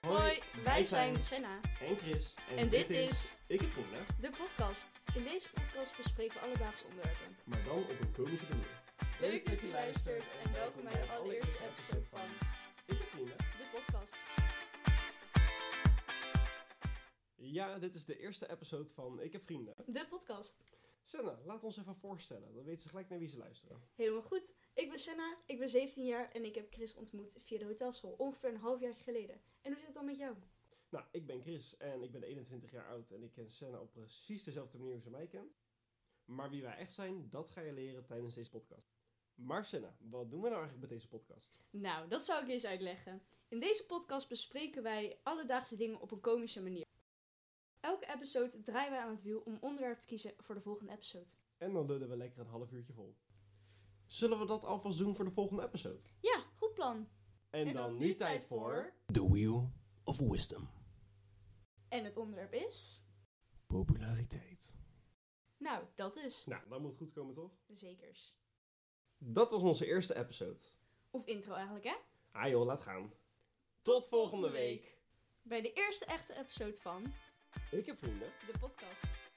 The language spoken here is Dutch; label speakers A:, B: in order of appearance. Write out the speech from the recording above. A: Hoi, wij zijn Senna
B: En Chris.
A: en dit is
B: Ik het Groene,
A: de podcast. In deze podcast bespreken we alledaagse onderwerpen.
B: maar dan op een komische manier.
A: Leuk dat je luistert en welkom bij de allereerste episode van
B: Ik het Groene.
A: de podcast.
B: Ja, dit is de eerste episode van Ik heb vrienden.
A: De podcast.
B: Senna, laat ons even voorstellen. Dan weten ze gelijk naar wie ze luisteren.
A: Helemaal goed. Ik ben Senna, ik ben 17 jaar en ik heb Chris ontmoet via de hotelschool ongeveer een half jaar geleden. En hoe zit het dan met jou?
B: Nou, ik ben Chris en ik ben 21 jaar oud en ik ken Senna op precies dezelfde manier hoe ze mij kent. Maar wie wij echt zijn, dat ga je leren tijdens deze podcast. Maar Senna, wat doen we nou eigenlijk met deze podcast?
A: Nou, dat zou ik eens uitleggen. In deze podcast bespreken wij alledaagse dingen op een komische manier. Elke episode draaien wij aan het wiel om onderwerp te kiezen voor de volgende episode.
B: En dan lullen we lekker een half uurtje vol. Zullen we dat alvast doen voor de volgende episode?
A: Ja, goed plan.
B: En, The Wheel of Wisdom.
A: En het onderwerp is.
B: Populariteit.
A: Nou, dat is.
B: Nou, dat moet goed komen toch?
A: Zekers.
B: Dat was onze eerste episode.
A: Of intro eigenlijk, hè?
B: Ah joh, laat gaan. Tot volgende week.
A: Bij de eerste echte episode van
B: Ik heb vrienden.
A: de podcast.